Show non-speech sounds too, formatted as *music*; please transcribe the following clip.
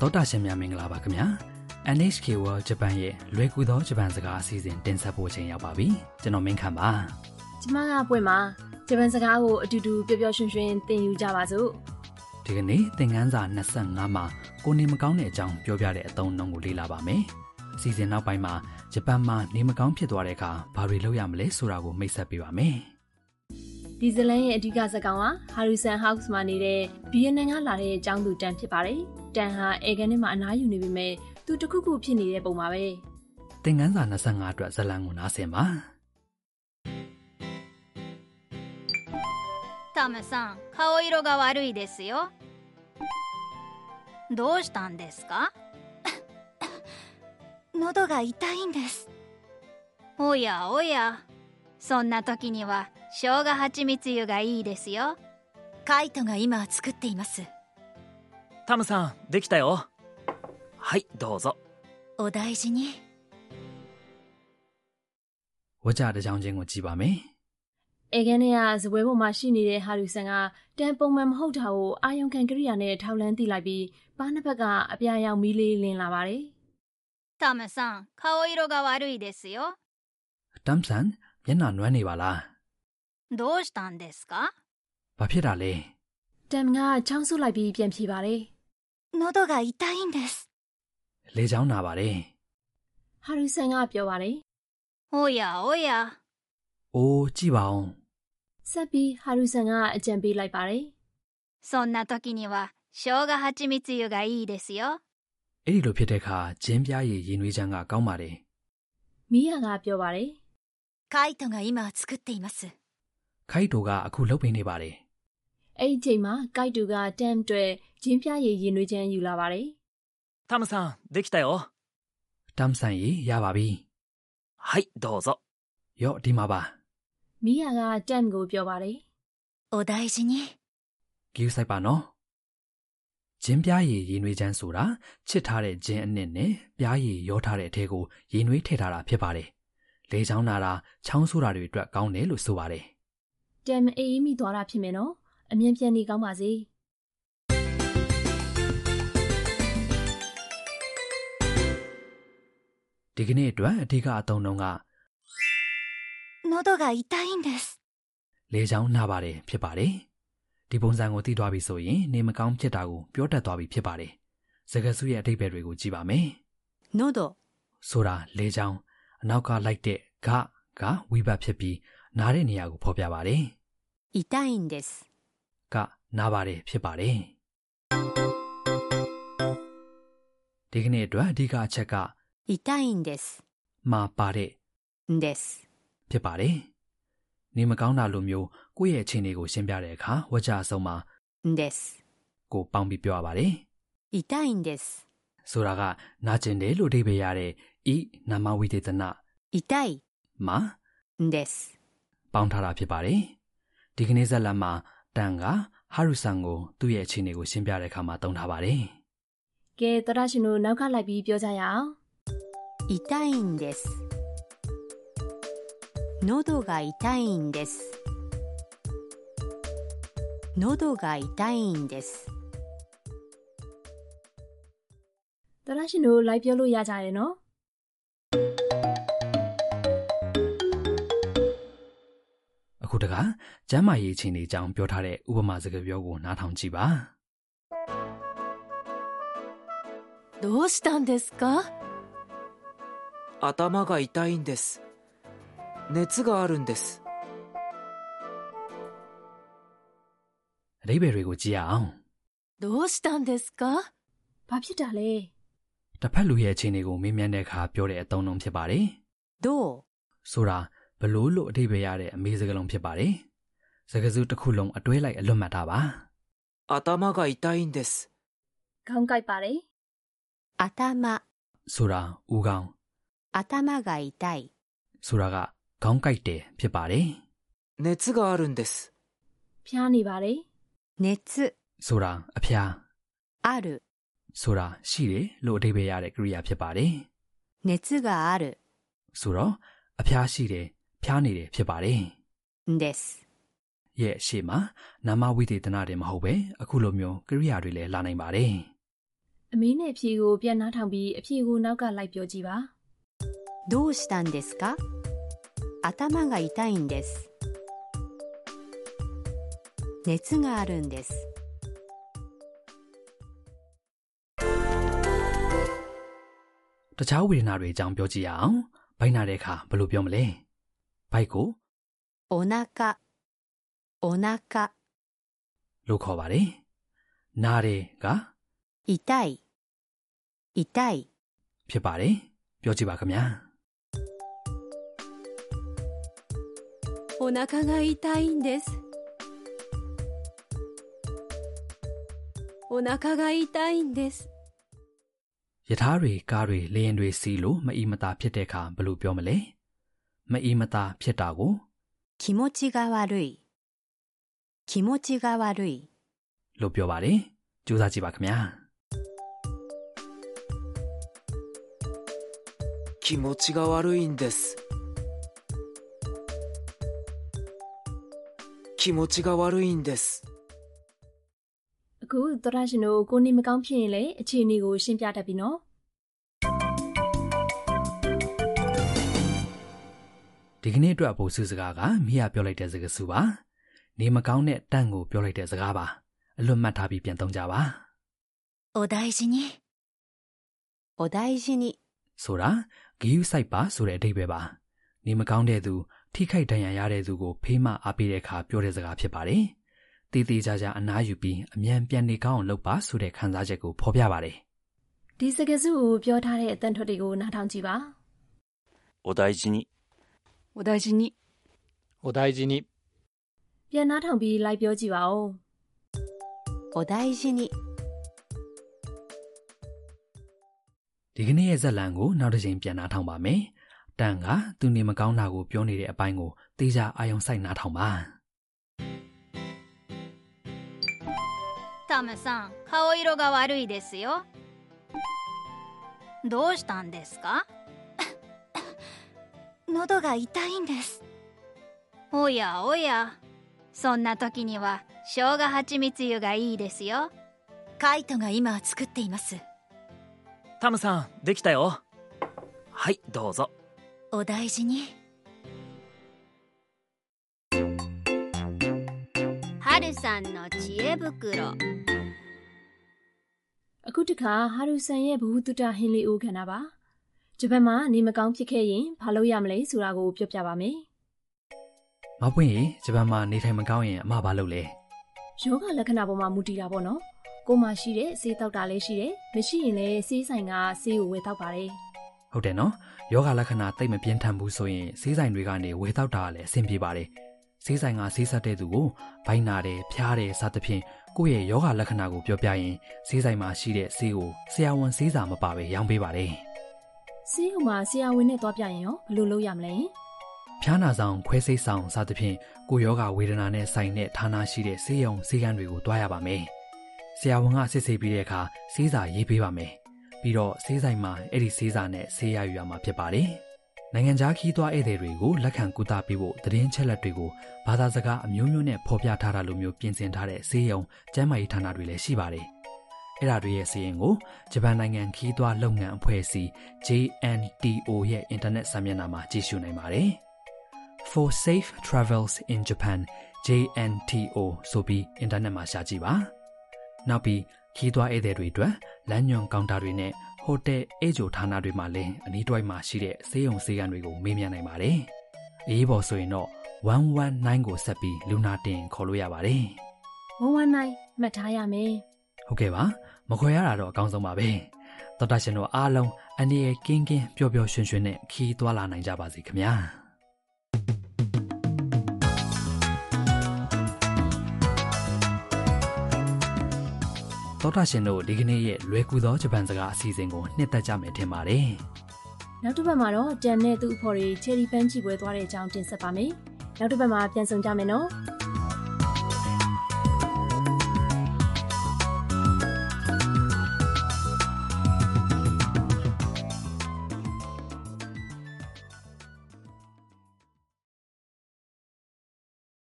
တောတာရှင်များမင်္ဂလာပါခင်ဗျာ NHK World Japan ရဲ့လွယ်ကူသောဂျပန်စကားအစီအစဉ်တင်ဆက်ဖို့အချိန်ရောက်ပါပြီကျွန်တော်မင်းခမ်းပါ ကျမကပွင့်ပါဂျပန်စကားကိုအတူတူပျော်ပျော်ရွှင်ရွှင်သင်ယူကြပါစို့ ဒီကနေ့သင်ခန်းစာ25မှာကိုနေမကောင်းတဲ့အကြောင်းပြောပြတဲ့အသုံးအနှုန်းကိုလေ့လာပါမယ်အစီအစဉ်နောက်ပိုင်းမှာဂျပန်မှာနေမကောင်းဖြစ်သွားတဲ့အခါဘာတွေလုပ်ရမလဲဆိုတာကိုမိတ်ဆက်ပေးပါမယ် ဒီဇလန်ရဲ့အဓိကဇာတ်ကောင်ဟာဟာရူဆန်ဟောက်စ်မှာနေတဲ့ဗီယက်နမ်ကလာတဲ့အကြောင်းသူတန်ဖြစ်ပါတယ်တန်ဟာအေဂန်နဲ့မှာအနားယူနေပေမဲ့သူတစ်ခုခုဖြစ်နေတဲ့ပုံပါပဲ သင်ခန်းစာ25အတွက်ဇာတ်လမ်းကိုနားဆင်ပါ タムさん顔色が悪いですよどうしたんですか *coughs* 喉が痛いんですおやおやそんな時には生姜蜂蜜湯がいいですよカイトが今作っていますタムさんできたよはいどうぞお大事に ဝါကြတစ်ချောင်းချင်းကိုကြည့်ပါမယ် အေဂန်နဲ့ကဇပွဲပေါ်မှာရှိနေတဲ့ဟာရူဆန်ကတန်ပုံမှန်မဟုတ်တာကိုအာယုံခံကိရိယာနဲ့ထောက်လန်းသိလိုက်ပြီးပါးနှစ်ဖက်ကအပြာရောင်မီးလေးလင်းလာပါတယ် タムさん顔色が悪いですよ တမ်ဆန်မျက်နှာနွမ်းနေပါလား どうしたんですか ဘာဖြစ်တာလဲ တန်ကချောင်းဆုပ်လိုက်ပြီးပြန်ဖြေပါတယ် 喉が痛いんです လေချောင်းနာပါတယ် ဟာရူဆန်ကပြောပါတယ် おやおや အိုးကြည့်ပါဦး ဆက်ပြီးဟာရူဆန်ကအကြံပေးလိုက်ပါတယ် そんな時には生姜蜂蜜湯がいいですよ အဲ့ဒီလိုဖြစ်တဲ့အခါဂျင်းပြားရည်ရင်နွေးချမ်းကကောင်းပါတယ် မီးယာကပြောပါတယ် カイトが今作っています ။ခိုက်တိုကအခုလှုပ်ပေးနေပါတယ် အဲ့ဒီချိန်မှာကိုက်တူကတမ်တွေဂျင်းပြရည်ရင်နွေးချမ်းယူလာပါတယ် タムさんできたよ ။တမ်ဆန်ရည်ရပါပြီ はいどうぞ ။ရော့ဒီမှာပါ ။မီးယာကတမ်ကိုပြောပါတယ် お大事に ။ဂယူဆိုင်ပါနော်။ဂျင်းပြားရည်ရင်နွေးချမ်းဆိုတာချစ်ထားတဲ့ဂျင်းအနစ်နဲ့ပြားရည်ရောထားတဲ့အထဲကိုရင်နွေးထည့်ထားတာဖြစ်ပါတယ်။လေချောင်းနာတာချောင်းဆိုးတာတွေအတွက်ကောင်းတယ်လို့ဆိုပါတယ် ။တမ်အေးအေးမိသွားတာဖြစ်မယ်နော်။အမြင်ပြန်နေကောင်းပါစေ ။ဒီကနေ့အတွက်အဓိကအသုံးနှုန်းက 喉が痛いんです လေချောင်းနာပါတယ်ဖြစ်ပါတယ်။ဒီပုံစံကိုသိသွားပြီဆိုရင်နေမကောင်းဖြစ်တာကိုပြောတတ်သွားပြီဖြစ်ပါတယ်။စကားစုရဲ့အဓိပ္ပာယ်တွေကိုကြည့်ပါမယ်။ 喉 ဆိုတာလေချောင်းအနောက်ကလိုက်တဲ့ဂကဝိဘတ်ဖြစ်ပြီးနားတဲ့နေရာကိုဖော်ပြပါတယ် 痛いんです ကနားပါတယ်ဖြစ်ပါတယ်ဒီကနေ့အတွက်အဓိကအချက်က 痛いんです မာပါတဲ့ です ဖြစ်ပါတယ်နေမကောင်းတာလိုမျိုးကိုယ့်ရဲ့အခြေအနေကိုရှင်းပြတဲ့အခါဝါကြအဆုံးမှာ です ကိုပေါင်းပြီးပြောရပါတယ် 痛いんです ဆိုတာကနာကျင်တယ်လို့အဓိပ္ပာယ်ရတဲ့ဤနာမဝိသေသန 痛い မှာ んです ပေါင်းထားတာဖြစ်ပါတယ်။ဒီကနေ့ဇက်လမ်းမှာတန်ကဟာရူဆန်ကိုသူ့ရဲ့အခြေအနေကိုရှင်းပြတဲ့အခါမှာတုံထားပါတယ် ။ကဲသရရှင်တို့နောက်ကလိုက်ပြီးပြောကြရအောင် 痛いんです喉が痛いんです喉が痛いんです ။သရရှင်တို့လိုက်ပြောလို့ရကြတယ်နော် ။အခုတခါကျမ်းမာရေးအခြေအနေအကြောင်းပြောထားတဲ့ဥပမာစကားပြောကိုနားထောင်ကြည့်ပါ どうしたんですか頭が痛いんです熱があるんです ။အဓိပ္ပာယ်တွေကိုကြည့်ရအောင် どうしたんですか ။ဘာဖြစ်တာလဲ ။တစ်ဖက်လူရဲ့အခြေအနေကိုမေးမြန်းတဲ့အခါပြောတဲ့အသုံးအနှုန်းဖြစ်ပါတယ် どう ။ဆိုတာဘလို့လို့အဓိပ္ပာယ်ရတဲ့အမေးစကားလုံးဖြစ်ပါတယ်။စကားစုတစ်ခုလုံးအတွဲလိုက်အလွတ်မှတ်တာပါ 頭が痛いんです ။ခေါင်းကိုက်ပါတယ် 頭 ။ဆိုတာဥကောင်း 頭が痛い ဆိုတာကခေါင်းကိုက်တယ်ဖြစ်ပါတယ် 熱があるんです ။ဖျားနေပါတယ် 熱 ။ဆိုတာအဖျား ある ဆိုတာရှိတယ်လို့အဓိပ္ပာယ်ရတဲ့ကရိယာဖြစ်ပါတယ် 熱がある ။ဆိုတော့အဖျားရှိတယ်ဖျားနေတယ်ဖြစ်ပါတယ် んです ။ရဲ့ရှေ့မှာနာမဝိသေသနတွေမဟုတ်ပဲအခုလိုမျိုးကရိယာတွေလည်းလာနိုင်ပါတယ် ။ အမေနဲ့အဖြေကိုပြန်နားထောင်ပြီးအဖြေကိုနောက်ကလိုက်ပြောကြည့်ပါ どうしたんですか頭が痛いんです熱があるんです တခြားဝေဒနာတွေအကြောင်းပြောကြည့်ရအောင်ဘိုက်နာတဲ့အခါဘယ်လိုပြောမလဲဘိုက်ကို お腹お腹 လို့ခေါ်ပါတယ်နာတယ်က 痛い痛い ဖြစ်ပါတယ်ပြောကြည့်ပါခင်ဗျာ お腹が痛いんですお腹が痛いんです ယထာတွေကားတွေလေယာဉ်တွေစီးလို့မအီမတာဖြစ်တဲ့အခါဘယ်လိုပြောမလဲမအီမတာဖြစ်တာကို 気持ちが悪い気持ちが悪い လို့ပြောပါတယ်ကြိုးစားကြည့်ပါခင်ဗျာ 気持ちが悪いんです気持ちが悪いんです အခုသောတာရှင်တို့ကိုနေမကောင်းဖြစ်ရင်လည်းအခြေအနေကိုရှင်းပြတတ်ပြီနော် ဒီကနေ့အတွက်အဖို့စုစကားကမိရပြောလိုက်တဲ့စကားစုပါနေမကောင်းတဲ့တန့်ကိုပြောလိုက်တဲ့စကားပါအလွတ်မှတ်ထားပြီးပြန်သုံးကြပါ お大事に。お大事に ဆိုတာဂီယူဆိုင်ပါဆိုတဲ့အဓိပ္ပာယ်ပါနေမကောင်းတဲ့သူထိခိုက်ဒဏ်ရာရတဲ့သူကိုဖေးမအားပေးတဲ့အခါပြောတဲ့စကားဖြစ်ပါတယ်တည်တည်ကြကြအနားယူပြီးအမြန်ပြန်နေကောင်းအောင်လုပ်ပါဆိုတဲ့ခံစားချက်ကိုဖော်ပြပါတယ် ဒီစကားစုကိုပြောထားတဲ့အတန်ထွက်တွေကိုနားထောင်ကြည့်ပါ お大事にお大事にお大事に ပြန်နားထောင်ပြီးလိုက်ပြောကြည့်ပါဦး お大事に ဒီကနေ့ရဲ့ဇက်လန်ကိုနောက်တစ်ချိန်ပြန်နားထောင်ပါမယ်တန်ကသူနေမကောင်းတာကိုပြောနေတဲ့အပိုင်းကိုတေးကြအာယုံဆိုင်နားထောင်ပါ タムさん顔色が悪いですよどうしたんですか *coughs* 喉が痛いんです。おやおやそんな時には生姜蜂蜜湯がいいですよカイトが今作っています。タムさんできたよはいどうぞお大事に。はるさんの知恵袋 အခုတခါဟာရူဆန်ရဲ့ဘ ഹു တုတ္တဟင်းလေးဦးခန္ဓာပါဂျပန်မှာနေမကောင်းဖြစ်ခဲ့ရင်မလုပ်ရမလဲဆိုတာကိုပြောပြပါမယ် မပွင့်ရင်ဂျပန်မှာနေထိုင်မကောင်းရင်အမဘာလုပ်လဲ ယောဂလက္ခဏာပေါ်မှာမူတည်တာပေါ့နော်ကိုယ်မှာရှိတဲ့ဆေးတောက်တာလည်းရှိတယ်မရှိရင်လည်းဆေးဆိုင်ကဆေးကိုဝယ်တောက်ပါတယ် ဟုတ်တယ်နော်ယောဂလက္ခဏာတိတ်မပြင်းထန်ဘူးဆိုရင်ဈေးဆိုင်တွေကနေဝယ်တော့တာကလည်းအဆင်ပြေပါတယ်ဈေးဆိုင်ကဈေးဆက်တဲ့သူကိုဘိုင်းနာတယ်ဖျားတယ်စသဖြင့်ကိုယ့်ရဲ့ယောဂလက္ခဏာကိုပြောပြရင်ဈေးဆိုင်မှာရှိတဲ့ဈေးကိုဆရာဝန်ဈေးစာမပါဘဲရောင်းပေးပါတယ် ဆေးဟိုမှာဆရာဝန်နဲ့သွားပြရင်ရောဘယ်လိုလုပ်ရမလဲ ဖျားနာဆောင်ခွဲစိတ်ဆောင်စသဖြင့်ကိုယ့်ယောဂဝေဒနာနဲ့ဆိုင်တဲ့ဌာနရှိတဲ့ဈေးရုံဈေးကန်းတွေကိုတွားရပါမယ်ဆရာဝန်ကစစ်ဆေးပြီးတဲ့အခါဈေးစာရေးပေးပါမယ်ပြီးတော့ဈေးဆိုင်မှာအဲ့ဒီဈေးစာနဲ့ဈေးရယူရမှာဖြစ်ပါတယ် နိုင်ငံခြားခီးသွားဧည့်သည်တွေကိုလက်ခံကူတာပေးဖို့သတင်းချက်လက်တွေကိုဘာသာစကားအမျိုးမျိုးနဲ့ဖော်ပြထားတာလိုမျိုးပြင်ဆင်ထားတဲ့ဈေးရုံကျန်းမာရေးဌာနတွေလည်းရှိပါတယ်။အဲ့ဒါတွေရဲ့စီရင်ကိုဂျပန်နိုင်ငံခီးသွားလုပ်ငန်းအဖွဲ့အစည်း JNTO ရဲ့အင်တာနက်စာမျက်နှာမှာကြည့်ရှုနိုင်ပါတယ်။ For safe travels in Japan JNTO ဆိုပြီးအင်တာနက်မှာရှာကြည့်ပါ။နောက်ပြီးခီးသွားဧည့်သည်တွေအတွက်လမ်းညွှန်ကောင်တာတွေနဲ့ဟိုတယ်အေဂျိုဌာနတွေမှာလည်းအနီးတစ်ဝိုက်မှာရှိတဲ့ဈေးရုံဈေးကန်တွေကိုမေးမြန်းနိုင်ပါတယ်။အရေးပေါ်ဆိုရင်တော့119ကိုဆက်ပြီးလူနာတင်ခေါ်လို့ရပါတယ် 119မှတ်ထားရမယ် ။ဟုတ်ကဲ့ပါ။မခွဲရတာတော့အကောင်းဆုံးပါပဲ။တော်တာရှင်တို့အားလုံးအနေရယ်ကင်းကင်းပျော်ပျော်ရွှင်ရွှင်နဲ့ခီးသွားလာနိုင်ကြပါစေခင်ဗျာ။ ။သောတာရှင်တို့ဒီကနေ့ရဲ့လွယ်ကူသောဂျပန်စကားအစီအစဉ်ကိုနှစ်သက်ကြမယ်ထင်ပါတယ် နောက်တစ်ပတ်မှာတော့တန်နဲ့သူ့အဖော်တွေချယ်ရီပန်းချီပွဲသွားတဲ့အကြောင်းတင်ဆက်ပါမယ်နောက်တစ်ပတ်မှာပြန်ဆောင်ကြမယ်နော် ။